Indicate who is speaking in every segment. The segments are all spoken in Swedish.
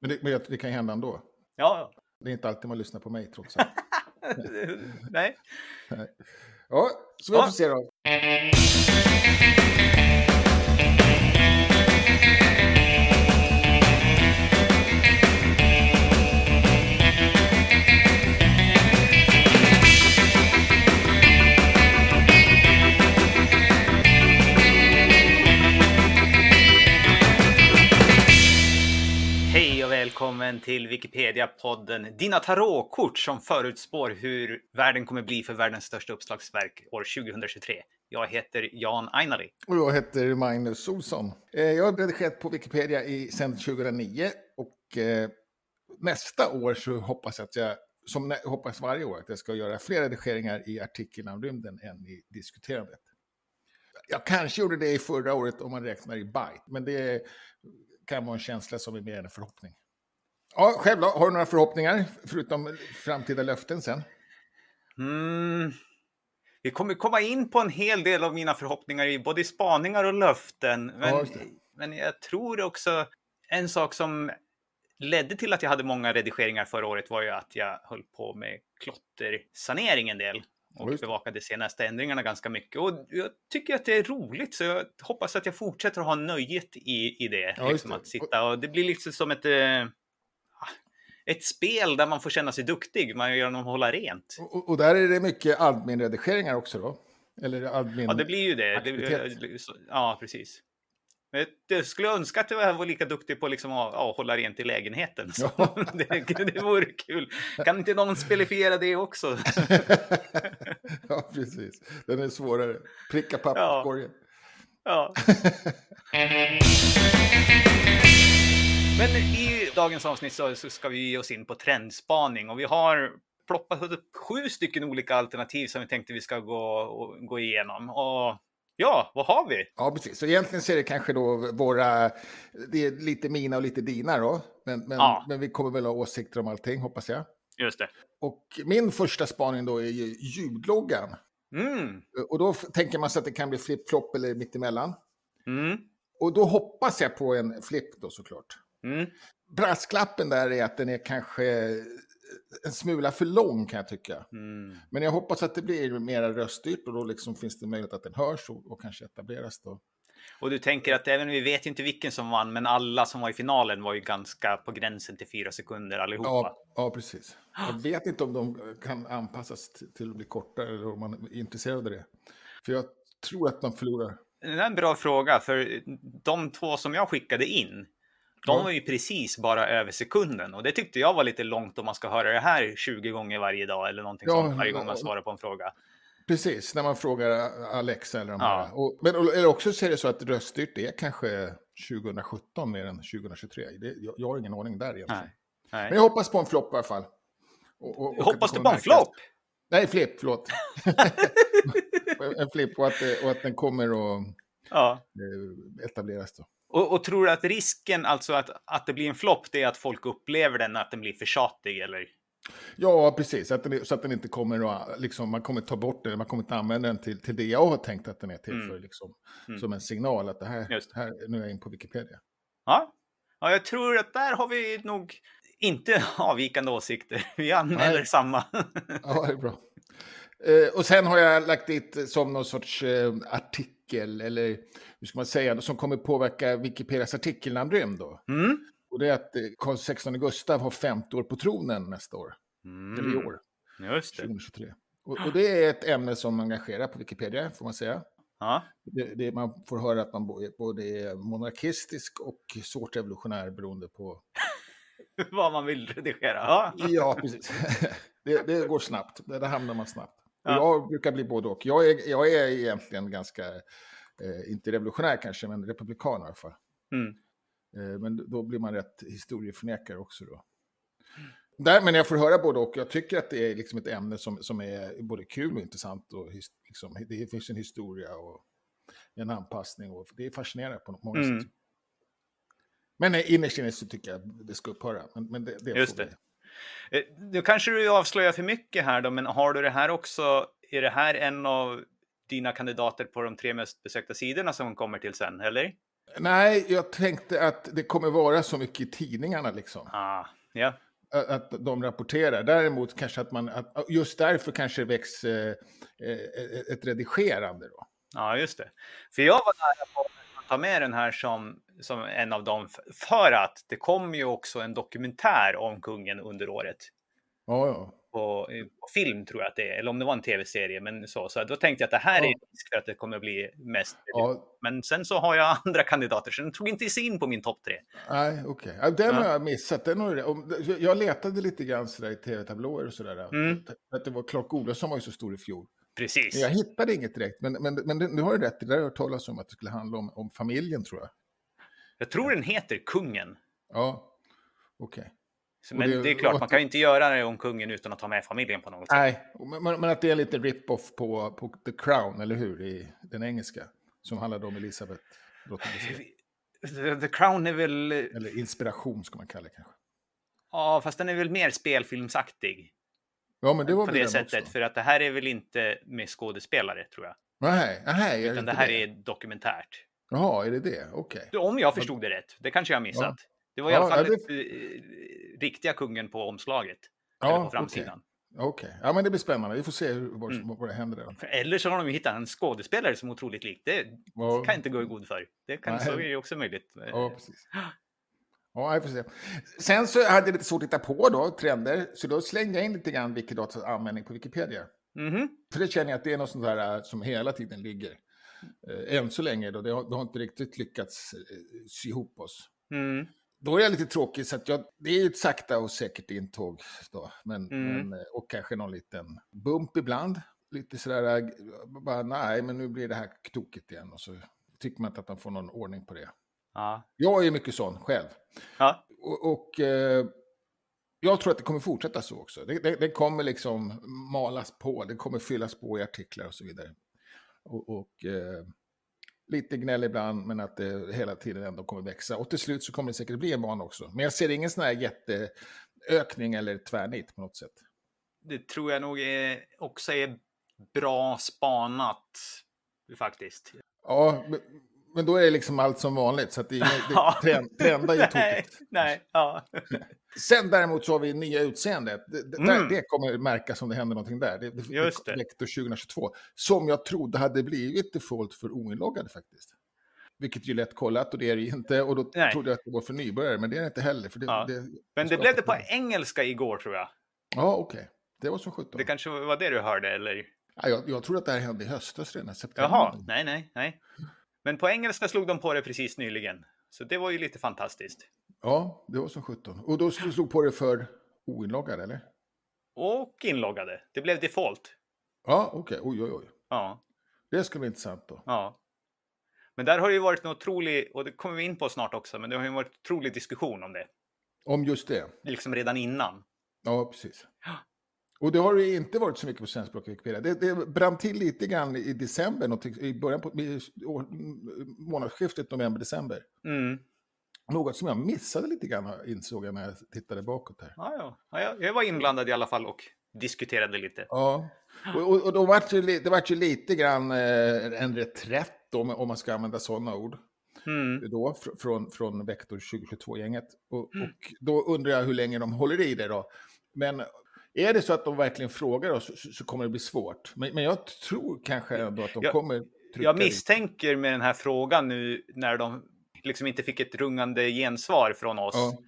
Speaker 1: Men det, men jag- det kan ju hända ändå.
Speaker 2: Ja, ja.
Speaker 1: Det är inte alltid man lyssnar på mig trots allt.
Speaker 2: nej.
Speaker 1: Ja, så vi
Speaker 2: Ja.
Speaker 1: får se då.
Speaker 2: Hej och välkommen till Wikipedia-podden. Dina tarotkort som förutspår hur världen kommer bli för världens största uppslagsverk år 2023. Jag heter Jan Ainali.
Speaker 1: Och jag heter Magnus Olsson. Eh, Jag har redigerat på Wikipedia i, sedan 2009 och eh, nästa år så hoppas jag att jag, som nä- hoppas varje år, att jag ska göra fler redigeringar i artikeln om rymden än i diskuterandet. Jag kanske gjorde det i förra året om man räknar i byte, men det kan vara en känsla som är mer än en förhoppning. Ja, själv då? Har du några förhoppningar, förutom framtida löften sen?
Speaker 2: Mm. Vi kommer komma in på en hel del av mina förhoppningar i både spaningar och löften. Men,
Speaker 1: Ja, just det.
Speaker 2: men jag tror också en sak som ledde till att jag hade många redigeringar förra året var ju att jag höll på med klottersanering en del och
Speaker 1: Ja, just det.
Speaker 2: bevakade de senaste ändringarna ganska mycket. Och jag tycker att det är roligt så jag hoppas att jag fortsätter att ha nöjet i, i det.
Speaker 1: Ja, just
Speaker 2: liksom,
Speaker 1: det.
Speaker 2: Att sitta och det blir liksom som ett, eh, ett spel där man får känna sig duktig, man gör någon hålla rent.
Speaker 1: Och, och- och där är det mycket admin-redigeringar också då? Eller admin...
Speaker 2: Ja, det blir ju det. eh, det
Speaker 1: aktivitet.
Speaker 2: så- ja, precis. Men jag skulle önska att jag var lika duktig på liksom att ja, hålla rent i lägenheten. Så
Speaker 1: Ja.
Speaker 2: det, det vore kul. Kan inte någon spelifiera det också?
Speaker 1: ja, precis. Den är svårare. Pricka papperskorgen.
Speaker 2: Ja. Men i dagens avsnitt så så ska vi ge oss in på trendspaning och vi har ploppat upp sju stycken olika alternativ som vi tänkte vi ska gå, och, gå igenom. Och ja, vad har vi?
Speaker 1: Ja, precis. Så egentligen så är det kanske då våra... Det är lite mina och lite dina då. Men, men,
Speaker 2: Ja.
Speaker 1: men vi kommer väl ha åsikter om allting, hoppas jag.
Speaker 2: Just det.
Speaker 1: Och min första spaning då är ju ljudloggan.
Speaker 2: Mm.
Speaker 1: Och då f- tänker man sig att det kan bli flip-flop eller mittemellan.
Speaker 2: Mm.
Speaker 1: Och då hoppas jag på en flip då såklart.
Speaker 2: Mm.
Speaker 1: Brasklappen där är att den är kanske eh, en smula för lång kan jag tycka.
Speaker 2: Mm.
Speaker 1: Men jag hoppas att det blir mera röststyrt och då liksom finns det möjlighet att den hörs och, och kanske etableras då.
Speaker 2: Och du tänker att även vi vet ju inte vilken som vann, men alla som var i finalen var ju ganska på gränsen till fyra sekunder allihopa.
Speaker 1: Ja, ja, precis. Jag vet inte om de kan anpassas t- till att bli kortare eller om man är intresserad av det. För jag tror att man förlorar.
Speaker 2: Det där är en bra fråga, för de två som jag skickade in, de
Speaker 1: Ja.
Speaker 2: var ju precis bara över sekunden och det tyckte jag var lite långt om man ska höra det här 20 gånger varje dag eller någonting
Speaker 1: Ja,
Speaker 2: sånt varje gång man
Speaker 1: ja.
Speaker 2: svarar på en fråga.
Speaker 1: Precis, när man frågar Alexa eller de
Speaker 2: Ja.
Speaker 1: här. Och, men, eller också så är det så att röststyrt är kanske 2017 mer än 2023. Det, jag, jag har ingen aning där egentligen.
Speaker 2: Nej. Nej.
Speaker 1: Men jag hoppas på en flopp i alla fall. Och- och- och att
Speaker 2: Hoppas
Speaker 1: det
Speaker 2: du på
Speaker 1: kommer
Speaker 2: en
Speaker 1: märkas.
Speaker 2: flopp?
Speaker 1: Nej, flipp, förlåt. en flipp och att, det- och att den kommer att
Speaker 2: Ja.
Speaker 1: eh, etableras då.
Speaker 2: Och, och tror du att risken, alltså att, att det blir en flopp, det är att folk upplever den, att den blir för tjatig eller?
Speaker 1: Ja, precis. Att den, så att den inte kommer att, liksom, man kommer ta bort den, man kommer inte använda den till, till det jag har tänkt att den är till
Speaker 2: Mm.
Speaker 1: för, liksom,
Speaker 2: Mm.
Speaker 1: som en signal att det här,
Speaker 2: Just.
Speaker 1: här, nu är jag in på Wikipedia.
Speaker 2: Ja. ja, jag tror att där har vi nog inte avvikande åsikter. Vi anmäler
Speaker 1: Nej.
Speaker 2: samma.
Speaker 1: Ja, det är bra. Eh, och sen har jag lagt dit eh, som någon sorts eh, artikel, eller hur ska man säga, som kommer påverka Wikipedias artikelnamn Rymd då.
Speaker 2: Mm.
Speaker 1: Och det är att eh, Karl XVI Gustav har 50 år på tronen nästa år,
Speaker 2: Mm.
Speaker 1: eller i år.
Speaker 2: Just det.
Speaker 1: 2023. Och, och det är ett ämne som engagerar på Wikipedia, får man säga.
Speaker 2: Ja.
Speaker 1: Det, det, man får höra att man bo- både är monarkistisk och svårt revolutionär beroende på...
Speaker 2: Vad man vill redigera. Ja.
Speaker 1: Ja, precis. det, det går snabbt. Där, där hamnar man snabbt. Och
Speaker 2: Ja.
Speaker 1: Jag brukar bli både och. Jag är, jag är egentligen ganska, eh, inte revolutionär kanske, men republikan i alla fall.
Speaker 2: Mm.
Speaker 1: Eh, men då blir man rätt historieförnekare också då.
Speaker 2: Mm.
Speaker 1: Där, men jag får höra både och. Jag tycker att det är liksom ett ämne som, som är både kul och intressant. Och his, liksom, det finns en historia och en anpassning. Och det är fascinerande på många
Speaker 2: Mm.
Speaker 1: sätt. Men eh, innerst inne så tycker jag det ska upphöra. Men, men det, det får
Speaker 2: Just det.
Speaker 1: vi-
Speaker 2: Eh, Nu kanske du avslöjar för mycket här då, men har du det här också? Är det här en av dina kandidater på de tre mest besökta sidorna som kommer till sen, eller?
Speaker 1: Nej, jag tänkte att det kommer vara så mycket i tidningarna liksom.
Speaker 2: Ah, ja.
Speaker 1: Att- Att de rapporterar. Däremot kanske att man, att just därför kanske det väcks eh, eh, ett redigerande då.
Speaker 2: ja, just det. För jag var nära på att ta med den här som, som en av dem. f- För att det kom ju också en dokumentär om kungen under året.
Speaker 1: Ja, ja.
Speaker 2: På, i- på film tror jag att det är, eller om det var en tv-serie. Men så, så då tänkte jag att det här är
Speaker 1: Ja.
Speaker 2: risk för att det kommer att bli mest.
Speaker 1: ja
Speaker 2: Men sen så har jag andra kandidater, så den tog inte sig in på min topp tre.
Speaker 1: Nej, okej. Ja, Den har
Speaker 2: Ja.
Speaker 1: jag missat. Den har, du- om- jag letade lite grann sådär i tv-tablåer och sådär.
Speaker 2: Mm.
Speaker 1: För Att det var Clark Olofsson var ju så stor i fjol.
Speaker 2: Precis.
Speaker 1: Men jag hittade inget direkt. Men, men, men du har du rätt, det där har jag hört talas om att det skulle handla om, om familjen tror jag.
Speaker 2: Jag tror den heter Kungen.
Speaker 1: Ja, okej.
Speaker 2: Så-
Speaker 1: Och
Speaker 2: Men det,
Speaker 1: det-
Speaker 2: är klart,
Speaker 1: och-
Speaker 2: man kan ju inte göra det om kungen utan att ta med familjen på något sätt.
Speaker 1: Nej, men, men men att det är en liten rip-off på, på The Crown, eller hur? I den engelska. Som handlade om Elisabeth. drottning Elisabeth.
Speaker 2: The, The Crown är väl...
Speaker 1: Eller inspiration ska man kalla det kanske.
Speaker 2: Ja, fast den är väl mer spelfilmsaktig
Speaker 1: Ja, men det var
Speaker 2: på
Speaker 1: väl
Speaker 2: det
Speaker 1: den
Speaker 2: sättet.
Speaker 1: också.
Speaker 2: För att det här är väl inte med skådespelare, tror jag.
Speaker 1: Nej, nej, är det,
Speaker 2: Utan det
Speaker 1: inte
Speaker 2: här är dokumentärt.
Speaker 1: Jaha, är det det? Okej.
Speaker 2: Om jag förstod det rätt. Det kanske jag har missat. Det var i
Speaker 1: Ja,
Speaker 2: alla fall
Speaker 1: ja,
Speaker 2: det... riktiga kungen på omslaget.
Speaker 1: Ja,
Speaker 2: eller på
Speaker 1: okej.
Speaker 2: framsidan.
Speaker 1: Okej, ja men det blir spännande. Vi får se hur, vad,
Speaker 2: Mm.
Speaker 1: vad det händer där.
Speaker 2: För Eller så har de ju hittat en skådespelare som är otroligt lik. Det
Speaker 1: Ja.
Speaker 2: kan inte gå i god för. Det kan, så är
Speaker 1: Nej.
Speaker 2: det ju också möjligt.
Speaker 1: Ja, precis. Ja, vi får se. Sen så hade jag lite svårt att hitta på då, trender, så då slängde jag in lite grann Wikidatas användning på Wikipedia.
Speaker 2: Mhm.
Speaker 1: För det känner jag att det är något sånt där eh, som hela tiden ligger. Eh, Än så länge då, det har, det har inte riktigt lyckats eh, sy ihop oss.
Speaker 2: Mm.
Speaker 1: Då är jag lite tråkig, så att jag, det är ju ett sakta och säkert intåg. Då, men,
Speaker 2: Mm.
Speaker 1: men, eh, och kanske någon liten bump ibland. Lite sådär, eh, bara nej, men nu blir det här tokigt igen. Och så tycker man inte att man får någon ordning på det.
Speaker 2: Ja.
Speaker 1: Jag är mycket sån själv.
Speaker 2: Ja.
Speaker 1: Och, och eh, jag tror att det kommer fortsätta så också. Det, det, det kommer liksom malas på, det kommer fyllas på i artiklar och så vidare. Och, och eh, lite gnäll ibland, men att det hela tiden ändå kommer växa. Och till slut så kommer det säkert bli en vana också. Men jag ser ingen sån här jätteökning eller tvärnit på något sätt.
Speaker 2: Det tror jag nog är, också är bra spanat faktiskt.
Speaker 1: Ja, men, men då är det liksom allt som vanligt, så att det, det trend, trendar ju
Speaker 2: Nej,
Speaker 1: tokigt.
Speaker 2: nej,
Speaker 1: Alltså.
Speaker 2: ja.
Speaker 1: Sen däremot så har vi nya utseendet. Det, det-
Speaker 2: Mm.
Speaker 1: där, det kommer märkas om det händer någonting där. Det, det,
Speaker 2: Just det.
Speaker 1: Vector 2022. Som jag trodde hade blivit default för oinloggade faktiskt. Vilket ju är lätt kollat och det är det ju inte. Och då
Speaker 2: Nej.
Speaker 1: trodde jag att det var för nybörjare, men det är det inte heller. För det,
Speaker 2: Ja.
Speaker 1: det,
Speaker 2: Men det
Speaker 1: skapar
Speaker 2: blev det på
Speaker 1: problem.
Speaker 2: engelska igår tror jag.
Speaker 1: Ja, okej. Det var som sjutton.
Speaker 2: Det kanske var det du hörde eller?
Speaker 1: Ja, jag, jag tror att det här hände i höstas redan, september.
Speaker 2: Jaha, nej, nej, nej. Men på engelska slog de på det precis nyligen. Så det var ju lite fantastiskt.
Speaker 1: Ja, det var som sjutton. Och då slog slog på det för oinloggade, eller?
Speaker 2: Och inloggade. Det blev default.
Speaker 1: Ja, okej. Oj, oj, oj.
Speaker 2: Ja,
Speaker 1: Det skulle bli intressant då.
Speaker 2: ja. Men där har det ju varit en otrolig, och det kommer vi in på snart också, men det har ju varit en otrolig diskussion om det.
Speaker 1: Om just det.
Speaker 2: Liksom redan innan.
Speaker 1: Ja, precis. Och det har ju inte varit så mycket på svenskspråkig Wikipedia. Det, det brann till lite grann i december, någonting- i början på i år- månadsskiftet november-december.
Speaker 2: Mm.
Speaker 1: Något som jag missade lite grann insåg jag när jag tittade bakåt här.
Speaker 2: Ja, ja. ja, jag- jag var inblandad i alla fall och diskuterade lite.
Speaker 1: Ja, och, och, och då var det, ju li- det var ju lite grann eh, en reträtt om, om man ska använda sådana ord.
Speaker 2: Mm.
Speaker 1: då, fr- från, från Vektor 2022-gänget. Och, och då undrar jag hur länge de håller i det då. Men är det så att de verkligen frågar oss så, så kommer det bli svårt. Men, men jag tror kanske ändå att de
Speaker 2: Jag-
Speaker 1: kommer trycka
Speaker 2: Jag
Speaker 1: dit.
Speaker 2: misstänker med den här frågan nu när de liksom inte fick ett rungande gensvar från oss.
Speaker 1: Ja.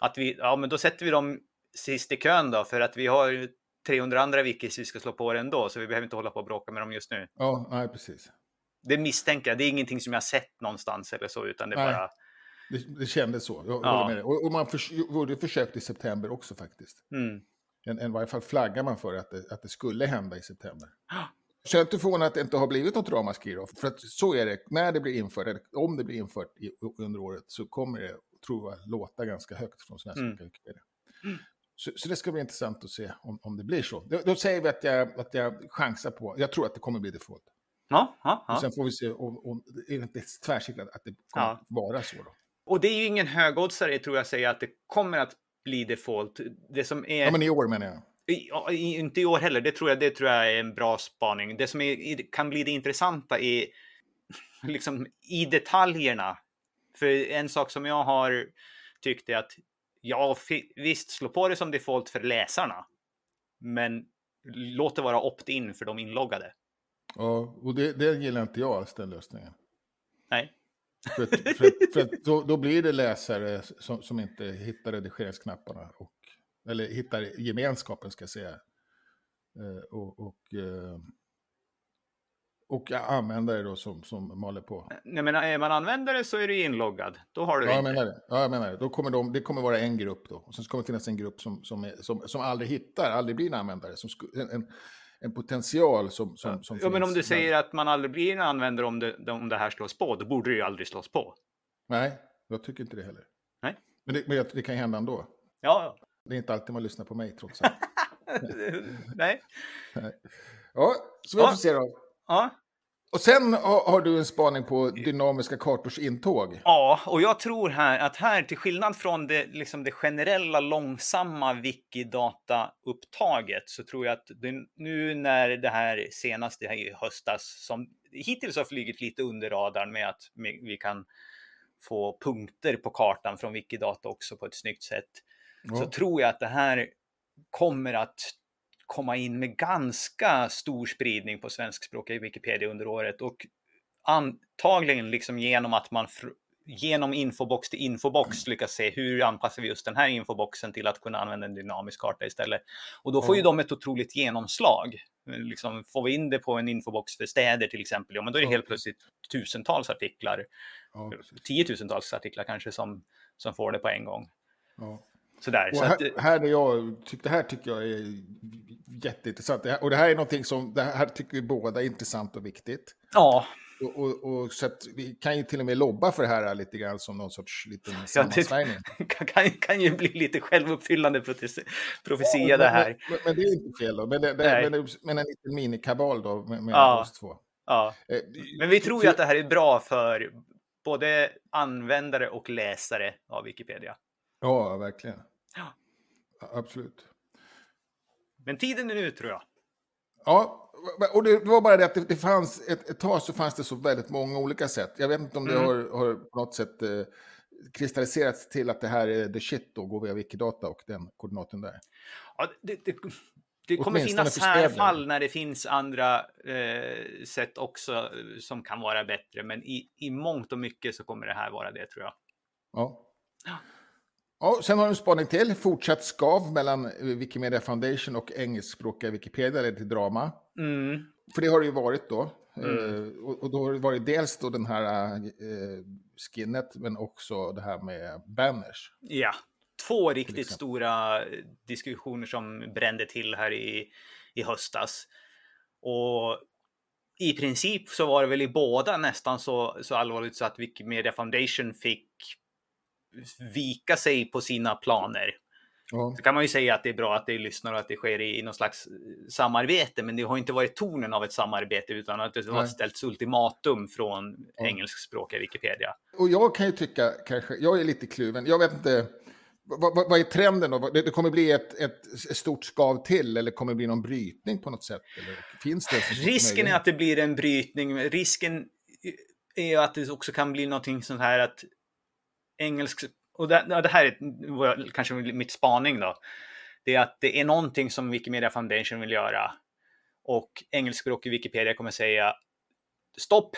Speaker 2: Att vi, ja men då sätter vi dem sist i kön då för att vi har ju 300 andra wikis vi ska slå på det ändå så vi behöver inte hålla på och bråka med dem just nu.
Speaker 1: Ja, nej, precis.
Speaker 2: Det misstänker jag, det är ingenting som jag har sett någonstans eller så utan det är
Speaker 1: Nej.
Speaker 2: bara...
Speaker 1: Det, det kändes så. Jag
Speaker 2: Ja.
Speaker 1: håller med dig. Och, och man förs gjorde försök i september också faktiskt.
Speaker 2: Mm.
Speaker 1: En, en, I varje fall flaggar man för att det, att det skulle hända i september. Så jag är inte förvånad att det inte har blivit något ramaskri då, för att så är det. När det blir infört, eller om det blir infört i, under året, så kommer det, tror jag, låta ganska högt från svenska
Speaker 2: Mm.
Speaker 1: mm. så, så det ska bli intressant att se om, om det blir så. Då, då säger vi att jag, att jag chansar på, jag tror att det kommer bli default.
Speaker 2: Ja, ja, ja.
Speaker 1: Och sen får vi se om, om är det inte tvärsäkert att det kommer
Speaker 2: Ja. Eh.
Speaker 1: att vara så då.
Speaker 2: Och det är ju ingen högoddsare tror jag säga att det kommer att bli default. Det som är...
Speaker 1: Ja, men i år menar jag.
Speaker 2: I- ja, i- Inte i år heller, det tror jag, det tror jag är en bra spaning. Det som är, i- kan bli det intressanta är liksom i detaljerna För en sak som jag har tyckt är att ja, fi- visst, slå på det som default för läsarna. Men låt det vara opt-in för de inloggade.
Speaker 1: Ja, och det, det gillar inte jag alls, den lösningen.
Speaker 2: Nej.
Speaker 1: För, att, för, att, för att då, då blir det läsare som, som inte hittar redigeringsknapparna, och, eller hittar gemenskapen ska jag säga. Eh, och, och, eh, och användare då som, som maler på.
Speaker 2: Nej, men är man användare så är du inloggad. Då har du
Speaker 1: Ja, jag
Speaker 2: inte.
Speaker 1: menar det. Ja, jag menar det. Då kommer de, det kommer vara en grupp då. Och sen kommer det finnas en grupp som, som, är, som, som aldrig hittar, aldrig blir en användare. Som sku, en, en, en potential som, som, som
Speaker 2: ja, men
Speaker 1: finns.
Speaker 2: om du säger att man aldrig blir en användare om det, om det här slås på, då borde det ju aldrig slås på.
Speaker 1: Nej, jag tycker inte det heller.
Speaker 2: Nej.
Speaker 1: Men det, men jag- det kan hända ändå.
Speaker 2: Ja,
Speaker 1: Det är inte alltid man lyssnar på mig trots allt.
Speaker 2: nej.
Speaker 1: Ja, så vi får
Speaker 2: Ja.
Speaker 1: se då.
Speaker 2: Ja.
Speaker 1: Och sen har, har du en spaning på dynamiska kartors intåg.
Speaker 2: ja, och jag tror här att här, till skillnad från det, liksom det generella långsamma Wikidata-upptaget, så tror jag att det, nu när det här senast, det här i höstas, som hittills har flugit lite under radarn med att vi vi kan få punkter på kartan från Wikidata också på ett snyggt sätt. så
Speaker 1: Ja.
Speaker 2: tror jag att det här kommer att komma in med ganska stor spridning på svenskspråkiga Wikipedia under året och antagligen liksom genom att man fr- genom infobox till infobox lyckas se hur anpassar vi just den här infoboxen till att kunna använda en dynamisk karta istället. Och då får ju
Speaker 1: Ja.
Speaker 2: de ett otroligt genomslag. Liksom, får vi in det på en infobox för städer till exempel, ja men då är det
Speaker 1: Ja.
Speaker 2: helt plötsligt tusentals artiklar,
Speaker 1: Ja, precis.
Speaker 2: tiotusentals artiklar kanske som, som får det på en gång.
Speaker 1: ja.
Speaker 2: Sådär.
Speaker 1: Och
Speaker 2: Så att, eh,
Speaker 1: här, här är jag, tyck, det här tycker jag är jätteintressant. Det här, och det här är någonting som det här tycker vi båda är intressant och viktigt.
Speaker 2: ja,
Speaker 1: Och, och, och, så att vi kan ju till och med lobba för det här lite grann som någon sorts liten sammansvärjning.
Speaker 2: kan, kan, kan ju bli lite självuppfyllande profetia, profetia det här.
Speaker 1: Men, men det är inte fel då. Men, det, det,
Speaker 2: Nej.
Speaker 1: men, det, men en liten minikabal då med, med
Speaker 2: Ja.
Speaker 1: oss två.
Speaker 2: Ja.
Speaker 1: Eh,
Speaker 2: Men vi tror ju att det här är bra för både användare och läsare av Wikipedia.
Speaker 1: Ja, verkligen.
Speaker 2: Ja.
Speaker 1: Ja, Absolut.
Speaker 2: Men tiden är nu tror jag.
Speaker 1: Ja, och det var bara det att det, det fanns, ett, ett tag så fanns det så väldigt många olika sätt. Jag vet inte om det
Speaker 2: Mm.
Speaker 1: har, har på något sätt eh, kristalliserats till att det här är the shit då, går via Wikidata och den koordinaten där.
Speaker 2: Ja, det, det, det kommer
Speaker 1: Åtminstone
Speaker 2: finnas
Speaker 1: för
Speaker 2: här
Speaker 1: städerna.
Speaker 2: fall när det finns andra eh, sätt också eh, som kan vara bättre. Men i, i mångt och mycket så kommer det här vara det tror jag.
Speaker 1: Ja.
Speaker 2: Ja.
Speaker 1: Ja, sen har du en spaning till. Fortsatt skav mellan eh, Wikimedia Foundation och engelskspråkiga Wikipedia, eller till drama.
Speaker 2: Mm.
Speaker 1: För det har det ju varit då.
Speaker 2: Mm.
Speaker 1: Eh, och, och då har det varit dels då den här eh, skinnet, men också det här med banners.
Speaker 2: Ja, två riktigt
Speaker 1: exempel.
Speaker 2: stora eh, diskussioner som brände till här i, i höstas. Och i princip så var det väl i båda nästan så, så allvarligt så att Wikimedia Foundation fick vika sig på sina planer.
Speaker 1: Ja.
Speaker 2: Så kan man ju säga att det är bra att det lyssnar och att det sker i, i någon slags eh, samarbete, men det har inte varit tonen av ett samarbete utan att det har
Speaker 1: Nej.
Speaker 2: ställts ultimatum från
Speaker 1: Ja.
Speaker 2: engelskspråkiga Wikipedia.
Speaker 1: Och jag kan ju tycka, kanske, jag är lite kluven, jag vet inte, vad, vad, vad är trenden då? Vad- Det, det kommer bli ett, ett stort skav till eller kommer det bli någon brytning på något sätt? Eller finns det en sån
Speaker 2: Risken är
Speaker 1: möjlighet?
Speaker 2: att det blir en brytning. men Risken är ju att det också kan bli någonting sånt här att engelsk... Och det, ja, det här är vad jag- kanske mitt spaning då. Det är att det är någonting som Wikimedia Foundation vill göra. Och engelskspråkig Wikipedia kommer säga stopp.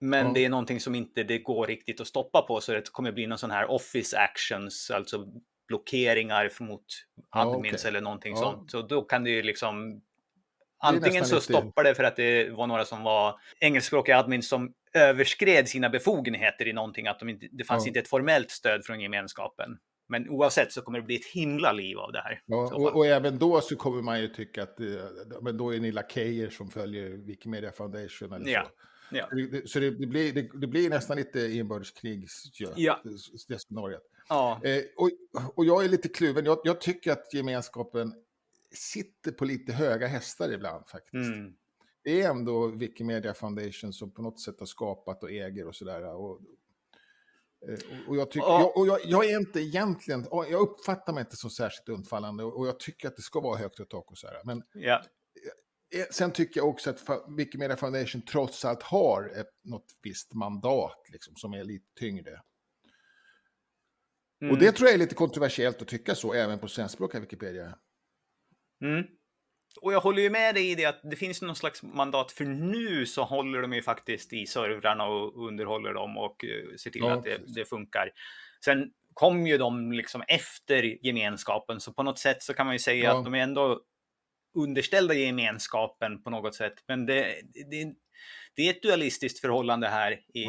Speaker 2: Men
Speaker 1: Ja.
Speaker 2: det är någonting som inte det går riktigt att stoppa på. Så det kommer bli någon sån här office actions, alltså blockeringar mot
Speaker 1: Ja,
Speaker 2: admins
Speaker 1: okej.
Speaker 2: eller någonting
Speaker 1: Ja.
Speaker 2: sånt. Så då kan det ju liksom
Speaker 1: är
Speaker 2: Antingen
Speaker 1: nästan
Speaker 2: så
Speaker 1: lite-
Speaker 2: stoppar det för att det var några som var engelskspråkiga admins som överskred sina befogenheter i någonting, att de inte, det fanns
Speaker 1: Ja.
Speaker 2: inte ett formellt stöd från gemenskapen. Men oavsett så kommer det bli ett himla liv av det här.
Speaker 1: Ja,
Speaker 2: Så
Speaker 1: och,
Speaker 2: fan.
Speaker 1: och även då så kommer man ju tycka att eh, men då är ni lakejer som följer Wikimedia Foundation eller
Speaker 2: Ja,
Speaker 1: så.
Speaker 2: ja.
Speaker 1: Det- Så det, det, blir, det, det blir nästan lite inbördeskrigs
Speaker 2: Ja.
Speaker 1: det, det scenariot.
Speaker 2: Ja.
Speaker 1: Eh, och, och jag är lite kluven, jag, jag tycker att gemenskapen sitter på lite höga hästar ibland faktiskt.
Speaker 2: Mm.
Speaker 1: det är ändå Wikimedia Foundation som på något sätt har skapat och äger och sådär. Och, eh, och, jag, tycker,
Speaker 2: Ja.
Speaker 1: jag, och jag, jag är inte egentligen, ja, jag uppfattar mig inte som särskilt undfallande och och jag tycker att det ska vara högt i tak och så här. Men
Speaker 2: ja.
Speaker 1: Eh, Sen tycker jag också att Fa- Wikimedia Foundation trots allt har ett, något visst mandat liksom, som är lite tyngre.
Speaker 2: Mm.
Speaker 1: Och det tror jag är lite kontroversiellt att tycka så, även på svenskspråkiga Wikipedia.
Speaker 2: Mm. Och jag håller ju med dig i det att det finns någon slags mandat för nu så håller de ju faktiskt i servrarna och underhåller dem och eh, ser till
Speaker 1: Ja,
Speaker 2: att det,
Speaker 1: precis.
Speaker 2: det funkar. Sen kom ju de liksom efter gemenskapen så på något sätt så kan man ju säga
Speaker 1: Ja.
Speaker 2: att de är ändå underställda gemenskapen på något sätt. Men det, det, det är ett dualistiskt förhållande här i,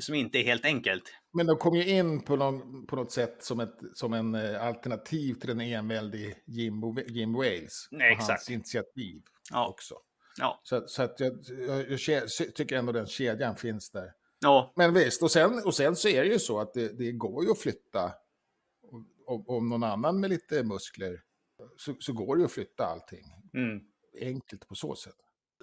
Speaker 2: som inte är helt enkelt.
Speaker 1: Men de kom ju in på, någon, på något sätt som, ett, som en eh, alternativ till den enväldige Jim, Jim Wales.
Speaker 2: Nej,
Speaker 1: och hans
Speaker 2: exakt.
Speaker 1: initiativ
Speaker 2: Ja,
Speaker 1: också.
Speaker 2: ja,
Speaker 1: Så, att- så att jag, jag, jag ke- tycker ändå den kedjan finns där.
Speaker 2: ja,
Speaker 1: Men visst, och sen, och sen så är det ju så att det, det går ju att flytta. Om, om någon annan med lite muskler så, så går det ju att flytta allting.
Speaker 2: mm.
Speaker 1: Enkelt på så sätt.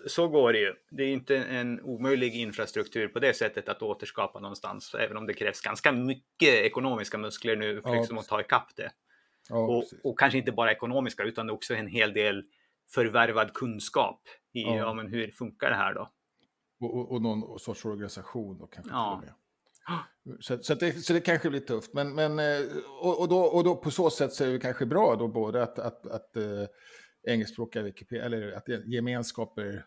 Speaker 2: så går det ju. Det är inte en omöjlig infrastruktur på det sättet att återskapa någonstans, även om det krävs ganska mycket ekonomiska muskler nu för
Speaker 1: Ja,
Speaker 2: liksom att ta ikapp det.
Speaker 1: Ja,
Speaker 2: Och,
Speaker 1: precis.
Speaker 2: och kanske inte bara ekonomiska, utan också en hel del förvärvad kunskap i
Speaker 1: Ja.
Speaker 2: ja. men hur funkar det här då?
Speaker 1: Och, och, och någon sorts organisation då kanske
Speaker 2: Ja.
Speaker 1: till och med. Så, så, att det, så det kanske blir tufft, men, men eh, och, och, då, och då på så sätt så är det kanske bra då både att, att, att eh, engelskspråkiga Wikipedia, eller att gemenskaper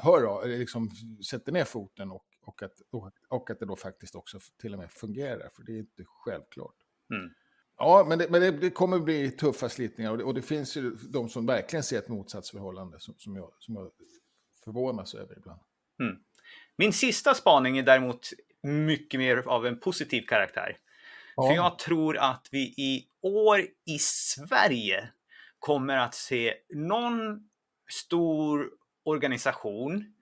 Speaker 1: hör av, eller liksom sätter ner foten och, och, att, och, och att det då faktiskt också till och med fungerar, för det är inte självklart.
Speaker 2: Mm.
Speaker 1: Ja, men det, men det, det kommer bli tuffa slitningar och det, och det finns ju de som verkligen ser ett motsatsförhållande som, som, jag, som jag förvånas över ibland.
Speaker 2: Min sista spaning är däremot mycket mer av en positiv karaktär. För jag tror att vi i år i Sverige kommer att se någon stor organisation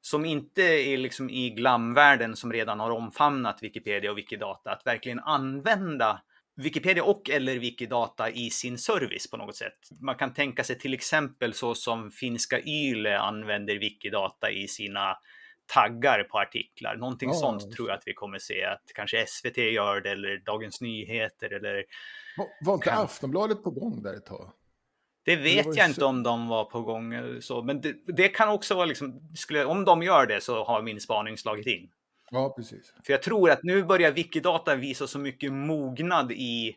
Speaker 2: som inte är liksom i glamvärlden som redan har omfamnat Wikipedia och Wikidata, att verkligen använda Wikipedia och eller Wikidata i sin service på något sätt. Man kan tänka sig till exempel så som finska Yle använder Wikidata i sina taggar på artiklar. Någonting
Speaker 1: Ja,
Speaker 2: sånt
Speaker 1: just
Speaker 2: tror jag att vi kommer se att kanske SVT gör det eller Dagens Nyheter eller
Speaker 1: Var, var inte
Speaker 2: Kan-
Speaker 1: Aftonbladet på gång där ett tag?
Speaker 2: det
Speaker 1: det
Speaker 2: vet
Speaker 1: var ju
Speaker 2: jag inte
Speaker 1: så-
Speaker 2: om de var på gång eller så, men det, det kan också vara liksom, skulle, om de gör det så har min spaning slagit in.
Speaker 1: Ja, precis.
Speaker 2: För jag tror att nu börjar Wikidata visa så mycket mognad i,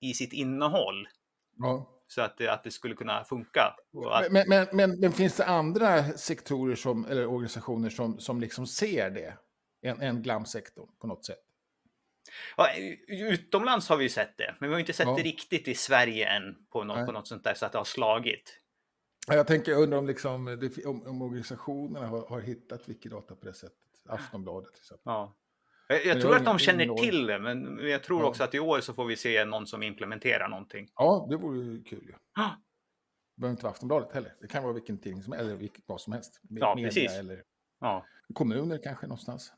Speaker 2: i sitt innehåll
Speaker 1: Ja.
Speaker 2: så att det, att det skulle kunna funka. Och att,
Speaker 1: Men, men, men, men finns det andra sektorer som, eller organisationer som, som liksom ser det? En, en glamsektor på något sätt?
Speaker 2: ja, utomlands har vi ju sett det, men vi har ju inte sett
Speaker 1: Ja.
Speaker 2: det riktigt i Sverige än på något,
Speaker 1: Nej.
Speaker 2: på något sånt där så att det har slagit.
Speaker 1: Ja, Jag tänker, jag undrar om, liksom, det- om, om organisationerna har, har hittat Wikidata på det sättet. Aftonbladet till exempel.
Speaker 2: Ja. Jag,
Speaker 1: det
Speaker 2: jag tror
Speaker 1: var
Speaker 2: att de
Speaker 1: ingen-
Speaker 2: känner
Speaker 1: ingen år.
Speaker 2: till det, men jag tror
Speaker 1: Ja.
Speaker 2: också att i år så får vi se någon som implementerar någonting.
Speaker 1: Ja, det vore ju kul ju.
Speaker 2: Ja.
Speaker 1: Det behöver inte vara Aftonbladet heller. Det kan vara vilken tidning som helst, eller vilk- vad som helst. Me-
Speaker 2: Ja,
Speaker 1: media
Speaker 2: precis.
Speaker 1: Eller
Speaker 2: Ja.
Speaker 1: kommuner kanske någonstans.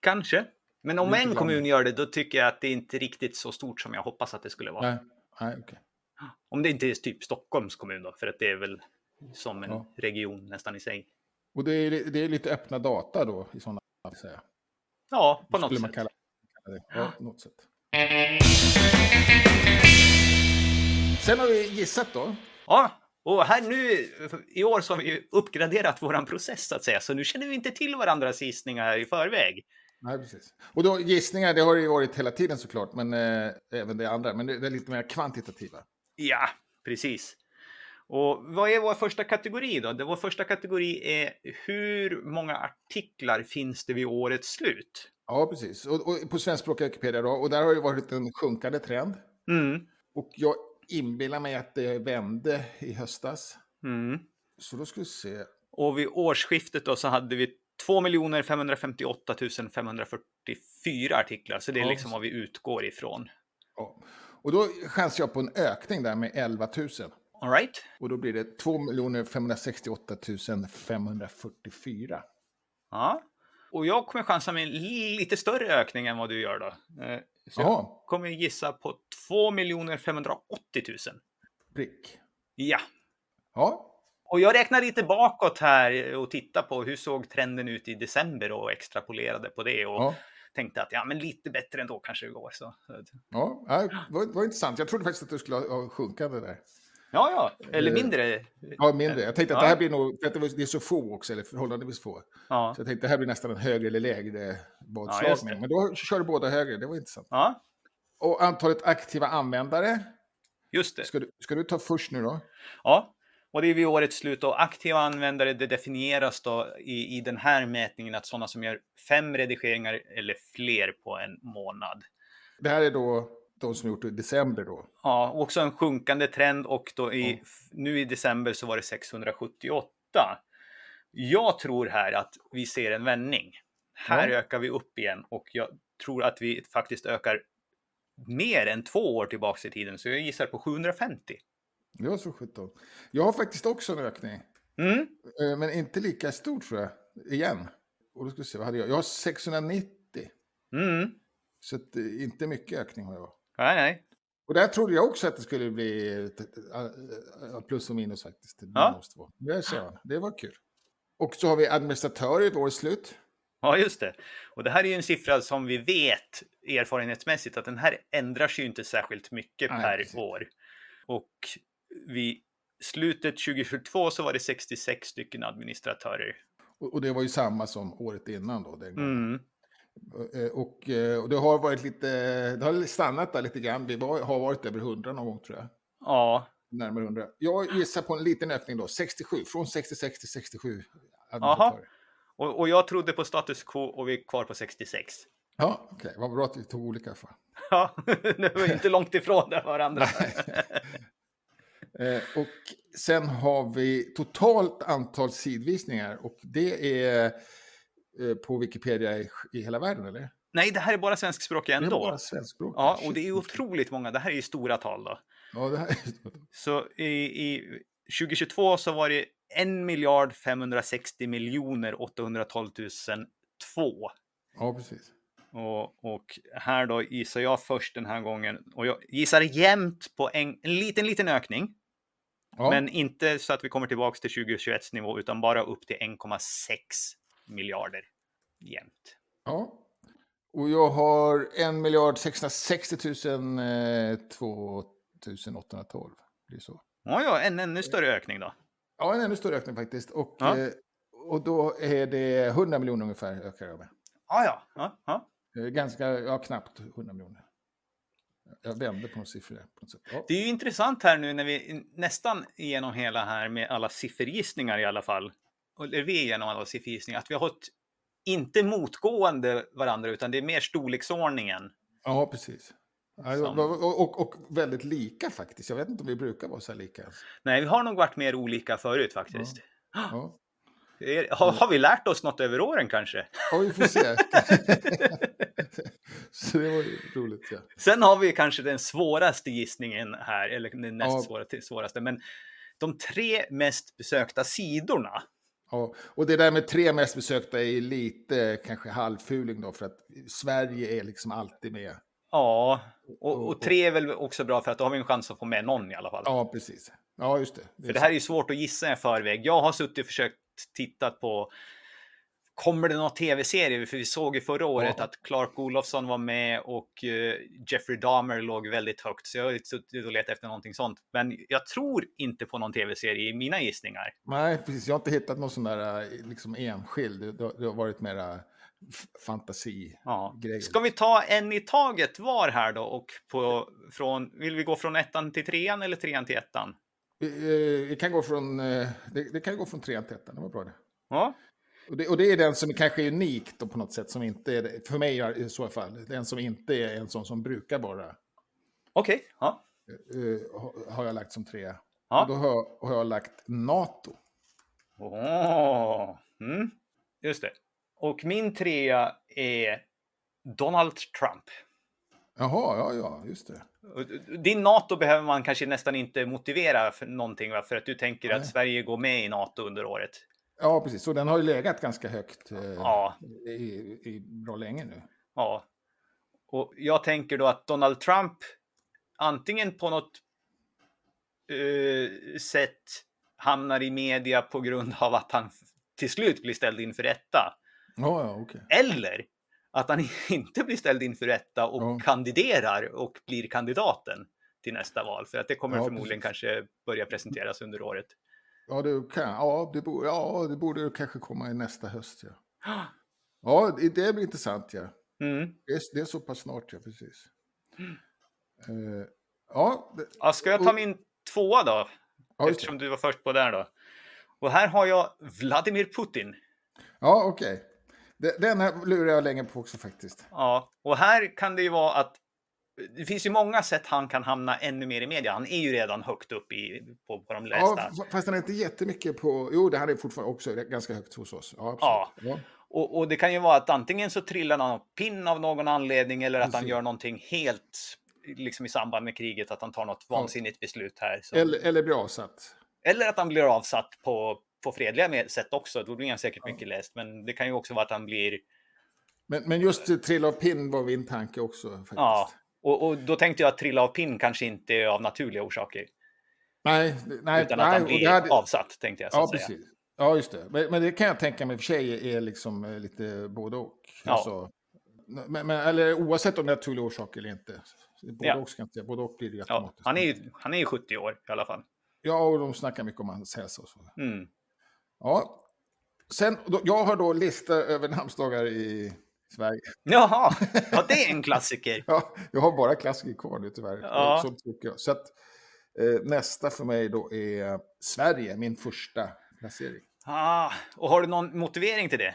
Speaker 2: Kanske. Men om
Speaker 1: Lite
Speaker 2: en
Speaker 1: blandning.
Speaker 2: kommun gör det, då tycker jag att det inte är riktigt så stort som jag hoppas att det skulle vara.
Speaker 1: Nej, nej okej.
Speaker 2: Om det inte är typ Stockholms kommun då, för att det är väl som en
Speaker 1: Ja.
Speaker 2: region nästan i sig.
Speaker 1: Och det är, li- det är lite öppna data då, i sådana fall. så att säga.
Speaker 2: Ja, på något
Speaker 1: skulle man
Speaker 2: sätt.
Speaker 1: kalla, kalla det. Ja, på något sätt. Sen har vi gissat då.
Speaker 2: Ja, och här nu i år så har vi ju uppgraderat våran process så att säga, så nu känner vi inte till varandras gissningar här i förväg.
Speaker 1: Nej, precis. Och då gissningar, det har det ju varit hela tiden såklart, men eh, även det andra. Men det, det är lite mer kvantitativa.
Speaker 2: Ja, precis. Och vad är vår första kategori då? Det- Vår första kategori är hur många artiklar finns det vid årets slut?
Speaker 1: Ja, precis. Och, och på svenskspråkiga Wikipedia då, och där har det varit en sjunkande trend.
Speaker 2: Mm.
Speaker 1: Och jag inbillar mig att det vände i höstas.
Speaker 2: Mm.
Speaker 1: Så då ska vi se.
Speaker 2: Och vid årsskiftet då så hade vi 2 558 544 artiklar, så det är
Speaker 1: Ja,
Speaker 2: liksom
Speaker 1: så-
Speaker 2: vad vi utgår ifrån.
Speaker 1: Ja. Och då chansar jag på en ökning där med 11 000.
Speaker 2: All right?
Speaker 1: Och då blir det 2 568 544.
Speaker 2: Ja. Och jag kommer chansa med en lite större ökning än vad du gör då. Eh, Så jag
Speaker 1: Jaha,
Speaker 2: kommer gissa på 2 580 000.
Speaker 1: prick.
Speaker 2: Ja.
Speaker 1: Ja,
Speaker 2: Och jag räknar lite bakåt här och tittar på hur såg trenden ut i december och extrapolerade på det och
Speaker 1: ja,
Speaker 2: tänkte att ja, men lite bättre ändå kanske det går. Så.
Speaker 1: ja. ja det var, det var intressant. Jag trodde faktiskt att du skulle ha, ha sjunkande där.
Speaker 2: Ja, ja, Eh, eller mindre.
Speaker 1: Ja, mindre. Jag tänkte att
Speaker 2: Ja.
Speaker 1: det här blir nog, för att det var- det är så få också, eller förhållandevis få.
Speaker 2: Ja.
Speaker 1: Så jag tänkte det här blir nästan en högre eller lägre
Speaker 2: Ja, just
Speaker 1: vadslagning.
Speaker 2: det.
Speaker 1: Men då kör du båda högre, det var intressant.
Speaker 2: ja,
Speaker 1: Och antalet aktiva användare,
Speaker 2: just det.
Speaker 1: ska du, ska du ta först nu då?
Speaker 2: Ja, och det är vid årets slut och aktiva användare det definieras då i, i den här mätningen att sådana som gör fem redigeringar eller fler på en månad.
Speaker 1: Det här är då de som gjort det i december då.
Speaker 2: Ja, och också en sjunkande trend och då i,
Speaker 1: Ja.
Speaker 2: f- nu i december så var det 678. Jag tror här att vi ser en vändning. Här
Speaker 1: Ja.
Speaker 2: ökar vi upp igen och jag tror att vi faktiskt ökar mer än två år tillbaks i tiden, så jag gissar på 750.
Speaker 1: Det var så 17. Jag har faktiskt också en ökning,
Speaker 2: Mm.
Speaker 1: eh, men inte lika stor tror jag, igen. Och då ska vi se, vad hade jag? Jag har 690,
Speaker 2: Mm.
Speaker 1: så att, eh, inte mycket ökning har jag.
Speaker 2: Nej, nej.
Speaker 1: Och där trodde jag också att det skulle bli ett- ett- ett plus och minus faktiskt.
Speaker 2: Ja.
Speaker 1: Minus två. Det, ser man. det var kul. Och så har vi administratörer vid årets slut.
Speaker 2: Ja, just det. Och det här är ju en siffra som vi vet erfarenhetsmässigt att den här ändrar sig ju inte särskilt mycket
Speaker 1: Nej,
Speaker 2: per
Speaker 1: precis.
Speaker 2: år. Och vid slutet 2022 så var det 66 stycken administratörer.
Speaker 1: Och och det var ju samma som året innan då. Den gången.
Speaker 2: Mm.
Speaker 1: Eh, Och, eh, och det har varit lite, det har stannat där lite grann. Vi var, har varit över 100 någon gång tror jag.
Speaker 2: Ja,
Speaker 1: Närmare 100. Jag gissar på en liten ökning då, 67, från 66 till 67 administratörer.
Speaker 2: och, och jag trodde på status quo och vi är kvar på 66.
Speaker 1: Ja, okej, vad bra att vi tog olika i alla fall.
Speaker 2: Ja, det var ju inte långt ifrån där varandra.
Speaker 1: Eh, och sen har vi totalt antal sidvisningar och det är eh, på Wikipedia i, i hela världen, eller?
Speaker 2: Nej, det här är bara svenskspråkiga
Speaker 1: Det är
Speaker 2: ändå.
Speaker 1: bara svenskspråk.
Speaker 2: Ja, och det är ju otroligt många. Det här är ju stora tal då.
Speaker 1: Ja, det här...
Speaker 2: Så i, i 2022 så var det 1 miljard 560 miljoner 812 002.
Speaker 1: ja precis.
Speaker 2: Och, och här då gissar jag först den här gången och jag gissar jämt på en, en liten, liten ökning,
Speaker 1: Ja,
Speaker 2: men inte så att vi kommer tillbaks till 2021 nivå utan bara upp till 1,6 miljarder jämt.
Speaker 1: ja. Och jag har 1 miljard 660 000 eh, 2812. Det är så.
Speaker 2: Ja, ja, en ännu större ökning då.
Speaker 1: Ja, en ännu större ökning faktiskt. Och,
Speaker 2: Ja.
Speaker 1: eh, och då är det 100 miljoner ungefär ökar jag med.
Speaker 2: Ja, ja, ja, ja.
Speaker 1: Eh, Ganska, ja knappt 100 miljoner. Jag vände på några siffror där. På något sätt. Ja.
Speaker 2: Det är ju intressant här nu när vi nästan igenom hela här med alla siffergissningar i alla fall. Eller vi är igenom alla siffergissningar. Att vi har hållit inte motgående varandra utan det är mer storleksordningen.
Speaker 1: Ja, precis. Ja, det var-
Speaker 2: Som-
Speaker 1: och, och, och väldigt lika faktiskt. Jag vet inte om vi brukar vara så här lika. ens.
Speaker 2: Nej, vi har nog varit mer olika förut faktiskt. Ah.
Speaker 1: Ja,
Speaker 2: Är, har, har vi lärt oss något över åren kanske?
Speaker 1: ja vi får se. så det var ju roligt. Ja.
Speaker 2: Sen har vi kanske den svåraste gissningen här, eller den näst
Speaker 1: Ja.
Speaker 2: svåra- till- svåraste. Men de tre mest besökta sidorna.
Speaker 1: Ja, och det där med tre mest besökta är ju lite kanske halvfuling då för att Sverige är liksom alltid med.
Speaker 2: Ja,
Speaker 1: Och-
Speaker 2: och, och
Speaker 1: och-
Speaker 2: tre är väl också bra för att då har vi en chans att få med någon i alla fall.
Speaker 1: Ja, precis. Ja, just det.
Speaker 2: För det här är ju svårt att gissa i förväg. Jag har suttit och försökt titta på Kommer det någon tv-serie? För vi såg ju förra året
Speaker 1: Ja.
Speaker 2: att Clark Olofsson var med och eh, Jeffrey Dahmer låg väldigt högt. Så jag har ju suttit och letat efter någonting sånt. Men jag tror inte på någon tv-serie i mina gissningar.
Speaker 1: Nej, precis. Jag har inte hittat någon sån där eh, liksom enskild. Det, det, det har varit mera f- fantasi.
Speaker 2: Ja.
Speaker 1: Grejer.
Speaker 2: Ska vi ta en i taget var här då? Och på, från, vill vi gå från ettan till trean eller trean till ettan?
Speaker 1: Eh, eh, Det kan gå från, eh, det, det kan gå från trean till ettan, det var bra det.
Speaker 2: Ja,
Speaker 1: Och det, och det är den som kanske är unik då på något sätt, som inte är, det- för mig är- i så fall, den som inte är en sån som brukar vara,
Speaker 2: okej. Ja.
Speaker 1: eh, ha- har jag lagt som trea.
Speaker 2: Ja.
Speaker 1: Och Då har, jag- har jag lagt NATO.
Speaker 2: Åh, Mm. Just det. Och min trea är Donald Trump.
Speaker 1: Jaha, ja, ja, just det.
Speaker 2: Och Din NATO behöver man kanske nästan inte motivera för någonting, va? för att du tänker att
Speaker 1: Nej.
Speaker 2: Sverige går med i NATO under året.
Speaker 1: Ja, precis. Så den har ju legat ganska högt eh,
Speaker 2: Ja,
Speaker 1: i, i bra länge nu.
Speaker 2: ja. Och jag tänker då att Donald Trump antingen på något eh, sätt hamnar i media på grund av att han till slut blir ställd inför rätta.
Speaker 1: Ja, ja, okej.
Speaker 2: Eller att han inte blir ställd inför rätta och
Speaker 1: Ja.
Speaker 2: kandiderar och blir kandidaten. till nästa val. För att det kommer
Speaker 1: Ja,
Speaker 2: förmodligen kanske börja presenteras under året.
Speaker 1: Ja, du kan. Ja, det borde, ja, det borde kanske komma i nästa höst. Ja, ja det- det blir intressant. Ja.
Speaker 2: Mm.
Speaker 1: Det, är, det är så pass snart, ja, precis. Eh, ja, det,
Speaker 2: Ja, ska jag ta min tvåa då?
Speaker 1: ja, just det.
Speaker 2: Eftersom du var först på där då. Och här har jag Vladimir Putin.
Speaker 1: ja okej. Det- Den här lurar jag länge på också faktiskt.
Speaker 2: Ja, och här kan det ju vara att det finns ju många sätt han kan hamna ännu mer i media. Han är ju redan högt upp i, på, på de lästa.
Speaker 1: Ja, f- fast den är inte jättemycket på... Jo, det här är fortfarande också ganska högt hos oss. Ja, absolut. Ja.
Speaker 2: Och, och det kan ju vara att antingen så trillar han av pinn av någon anledning eller att han
Speaker 1: Precis.
Speaker 2: gör någonting helt liksom i samband med kriget, att han tar något vansinnigt beslut här. Så. Eller...
Speaker 1: Eller, eller blir avsatt.
Speaker 2: att han blir avsatt på, på fredliga med- sätt också. Då blir han säkert mycket läst, men det kan ju också vara att han blir...
Speaker 1: Men, men just eh, Trill av pinn var min tanke också. Faktiskt.
Speaker 2: Ja, och, och då tänkte jag att trilla av pinn kanske inte är av naturliga orsaker,
Speaker 1: Nej, det- nej,
Speaker 2: utan att
Speaker 1: nej.
Speaker 2: han
Speaker 1: och
Speaker 2: blir
Speaker 1: det hade-
Speaker 2: avsatt, tänkte jag. Så
Speaker 1: ja,
Speaker 2: att säga.
Speaker 1: precis. Ja, just det. Men, men det kan jag tänka mig i och för sig är liksom eh, lite både och.
Speaker 2: Ja.
Speaker 1: Alltså, men, men, eller oavsett om det är naturlig orsak eller inte. Både
Speaker 2: Ja.
Speaker 1: och ska jag inte säga. Både och blir det ju
Speaker 2: Ja,
Speaker 1: automatiskt.
Speaker 2: han, är ju, han är ju 70 år i alla fall.
Speaker 1: Ja, och de snackar mycket om hans hälsa och så.
Speaker 2: Mm.
Speaker 1: Ja. Sen, då, jag har då listor över namnsdagar i Sverige.
Speaker 2: Jaha, ja, det är en klassiker.
Speaker 1: Ja, jag har bara klassiker kvar nu tyvärr.
Speaker 2: Ja.
Speaker 1: Så, tycker jag. så att, eh, nästa för mig då är Sverige, min första placering.
Speaker 2: Ah, och har du någon motivering till det?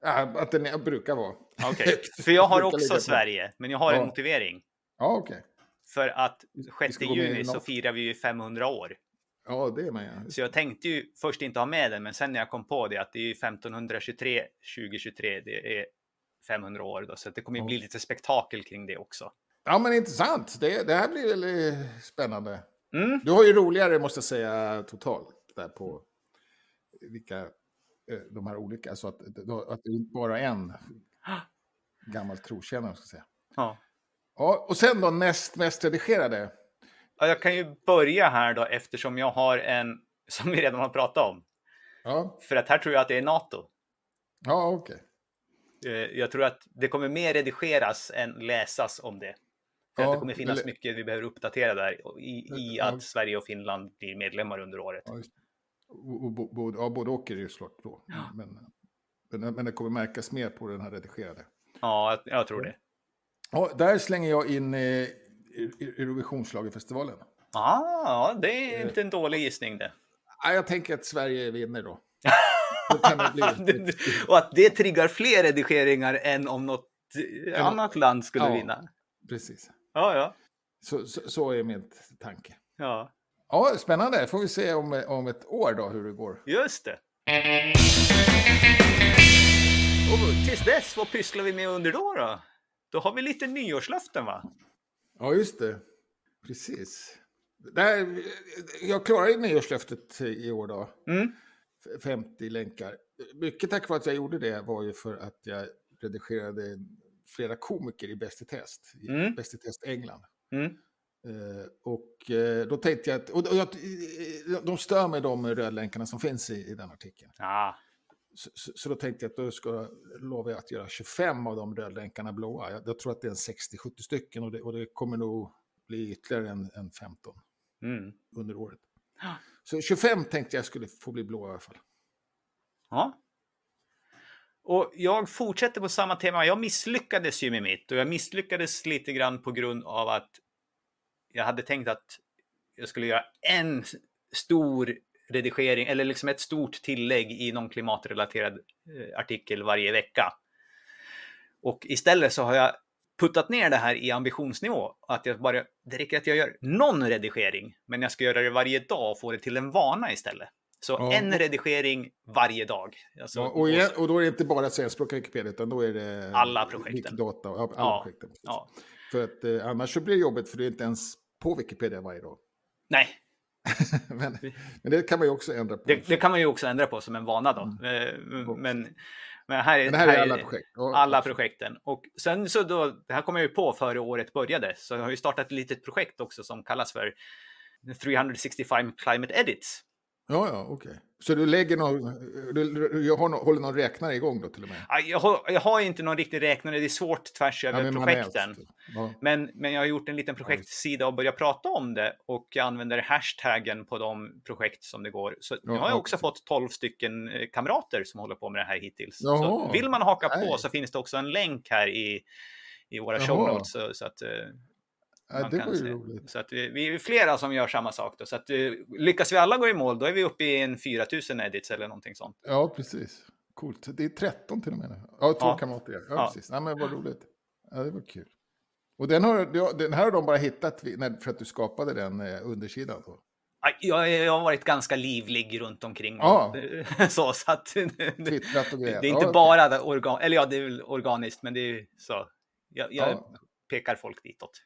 Speaker 1: Ja, Äh, att den är, brukar vara.
Speaker 2: Okej,
Speaker 1: Högt.
Speaker 2: för jag har
Speaker 1: Brukar ligga
Speaker 2: också
Speaker 1: på.
Speaker 2: Sverige, men jag har
Speaker 1: Ja.
Speaker 2: en motivering.
Speaker 1: Ja, okej.
Speaker 2: För att
Speaker 1: Vi
Speaker 2: 6
Speaker 1: ska gå med i
Speaker 2: juni så
Speaker 1: något.
Speaker 2: firar vi ju 500 år.
Speaker 1: Ja, det är man ja.
Speaker 2: Så jag tänkte ju först inte ha med den, men sen när jag kom på det att det är ju 1523, 2023, det är 500 år då, så att det kommer ju
Speaker 1: Ja.
Speaker 2: bli lite spektakel kring det också.
Speaker 1: Ja, men intressant. Det, det här blir väl eh, spännande.
Speaker 2: Mm.
Speaker 1: Du har ju roligare, måste jag säga, totalt där på vilka eh, de här olika, så att, att det inte bara är en gammal trotjänare, ska jag säga.
Speaker 2: Ja.
Speaker 1: Ja, och sen då näst mest redigerade.
Speaker 2: Ja, Jag kan ju börja här då eftersom jag har en som vi redan har pratat om.
Speaker 1: Ja,
Speaker 2: För att här tror jag att det är NATO.
Speaker 1: ja okej.
Speaker 2: Eh, Jag tror att det kommer mer redigeras än läsas om det. För
Speaker 1: Ja,
Speaker 2: att det kommer finnas
Speaker 1: eller-
Speaker 2: mycket vi behöver uppdatera där och i, i
Speaker 1: Ja.
Speaker 2: att Sverige och Finland blir medlemmar under året.
Speaker 1: Ja, just det. Och- och bo- bo- Ja, både och är det ju såklart då. Men, men, men det kommer märkas mer på den här redigerade.
Speaker 2: Ja, jag, jag tror det.
Speaker 1: Ja, där slänger jag in eh, Eu- Eu- Eurovisionsschlagerfestivalen.
Speaker 2: Ah, det
Speaker 1: Eh.
Speaker 2: är inte en dålig gissning det.
Speaker 1: Ja, jag tänker att Sverige vinner då. Då kan det bli.
Speaker 2: och att det triggar fler redigeringar än om något eh, annat land skulle
Speaker 1: Ja.
Speaker 2: vinna.
Speaker 1: Precis.
Speaker 2: Ja, ja.
Speaker 1: Så, så, så är min tanke.
Speaker 2: ja.
Speaker 1: Ja, spännande. Får vi se om, om ett år då hur det går.
Speaker 2: Just det. Och tills dess, vad pysslar vi med under då? Då, då har vi lite nyårslöften va?
Speaker 1: Ja, just det. Precis. Där, jag klarar ju nyårslöftet i år då.
Speaker 2: Mm.
Speaker 1: 50 länkar. Mycket tack vare att jag gjorde det var ju för att jag redigerade flera komiker i Bäst i test, i
Speaker 2: Mm.
Speaker 1: Bäst i test England.
Speaker 2: Mm.
Speaker 1: Eh, och eh, då tänkte jag att, och, och jag, eh, de stör mig de rödlänkarna som finns i, i den artikeln.
Speaker 2: Ja,
Speaker 1: Så, så, så då tänkte jag att då ska, lovar jag att göra 25 av de rödlänkarna blåa. Jag, jag tror att det är en 60-70 stycken och det, och det kommer nog bli ytterligare en, en 15
Speaker 2: mm.
Speaker 1: under året.
Speaker 2: Ja.
Speaker 1: Så 25 tänkte jag skulle få bli blåa i alla fall.
Speaker 2: ja. Och jag fortsätter på samma tema. Jag misslyckades ju med mitt och jag misslyckades lite grann på grund av att jag hade tänkt att jag skulle göra en stor redigering eller liksom ett stort tillägg i någon klimatrelaterad eh, artikel varje vecka. Och istället så har jag puttat ner det här i ambitionsnivå. Att jag bara, det räcker att jag gör någon redigering, men jag ska göra det varje dag och få det till en vana istället. Så
Speaker 1: Ja.
Speaker 2: en redigering varje dag. Alltså,
Speaker 1: Ja, och, igen, och då är det inte bara svenskspråkiga Wikipedia, utan då är det
Speaker 2: Alla projekten.
Speaker 1: Wikidata och alla
Speaker 2: Ja,
Speaker 1: projekten. precis.
Speaker 2: ja.
Speaker 1: För att eh, annars så blir det jobbigt, för det är inte ens på Wikipedia varje dag.
Speaker 2: Nej,
Speaker 1: men, men det kan man ju också ändra på.
Speaker 2: det, det kan man ju också ändra på som en vana då. Eh, Men, men här är,
Speaker 1: men det här är alla projekt. Ja,
Speaker 2: alla projekten. Och sen så då, det här kom jag ju på före året började, så jag har ju startat ett litet projekt också som kallas för 365 Climate Edits.
Speaker 1: Ja, ja, okej. Så du lägger någon, du, du jag har nå- håller någon räknare igång då till och med?
Speaker 2: Ja, Ah, Jag har, jag har inte någon riktig räknare, det är svårt tvärs över
Speaker 1: men alltså- manuellt.
Speaker 2: projekten.
Speaker 1: Ja.
Speaker 2: Men, men jag har gjort en liten projektsida och börjat prata om det och jag använder hashtaggen på de projekt som det går. Så nu
Speaker 1: Ja,
Speaker 2: har jag
Speaker 1: ja,
Speaker 2: också fått 12 stycken eh, kamrater som håller på med det här hittills. Så
Speaker 1: Jaha.
Speaker 2: vill man haka på
Speaker 1: Nej.
Speaker 2: så finns det också en länk här i, i våra
Speaker 1: Jaha.
Speaker 2: show notes. Så, så att, eh,
Speaker 1: Ja,
Speaker 2: man
Speaker 1: det
Speaker 2: kan
Speaker 1: var ju
Speaker 2: se.
Speaker 1: roligt.
Speaker 2: Så att vi, vi är flera som gör samma sak. Då. Så att, eh, lyckas vi alla gå i mål, då är vi uppe i en 4000 edits eller någonting sånt.
Speaker 1: Ja, precis. Coolt. Det är 13 till och med. nu. Ja, två
Speaker 2: Ja.
Speaker 1: kamrater. Ja,
Speaker 2: Ja.
Speaker 1: ja. precis. Nej, men vad roligt. Ja, det var kul. Och den, har, du- den här har de bara hittat vid- när- för att du skapade den eh, undersidan? Då.
Speaker 2: Aj, Jag, jag har varit ganska livlig runt omkring.
Speaker 1: Ja.
Speaker 2: Så, så att,
Speaker 1: Twittrat och grejat.
Speaker 2: Det, det är
Speaker 1: Ja,
Speaker 2: inte
Speaker 1: okej.
Speaker 2: bara organ, eller ja, det är väl organiskt, men det är ju så. Jag, jag
Speaker 1: Ja.
Speaker 2: pekar folk ditåt.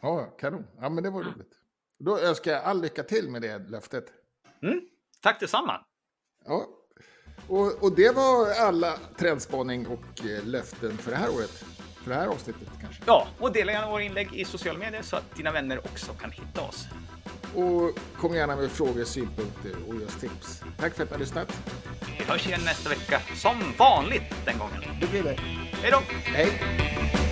Speaker 1: Ja, kanon. Ja, men det var roligt. Då önskar jag all lycka till med det löftet.
Speaker 2: Mm? Tack detsamma.
Speaker 1: Ja. Och, och det var alla trendspaning och eh, löften för det här året. För det här avsnittet kanske.
Speaker 2: Ja, och dela gärna våra inlägg i sociala medier så att dina vänner också kan hitta oss.
Speaker 1: Och kom gärna med frågor, synpunkter och just tips. Tack för att ni har lyssnat.
Speaker 2: Vi hörs igen nästa vecka, som vanligt den gången.
Speaker 1: Det blir det.
Speaker 2: Hej då!
Speaker 1: Hej!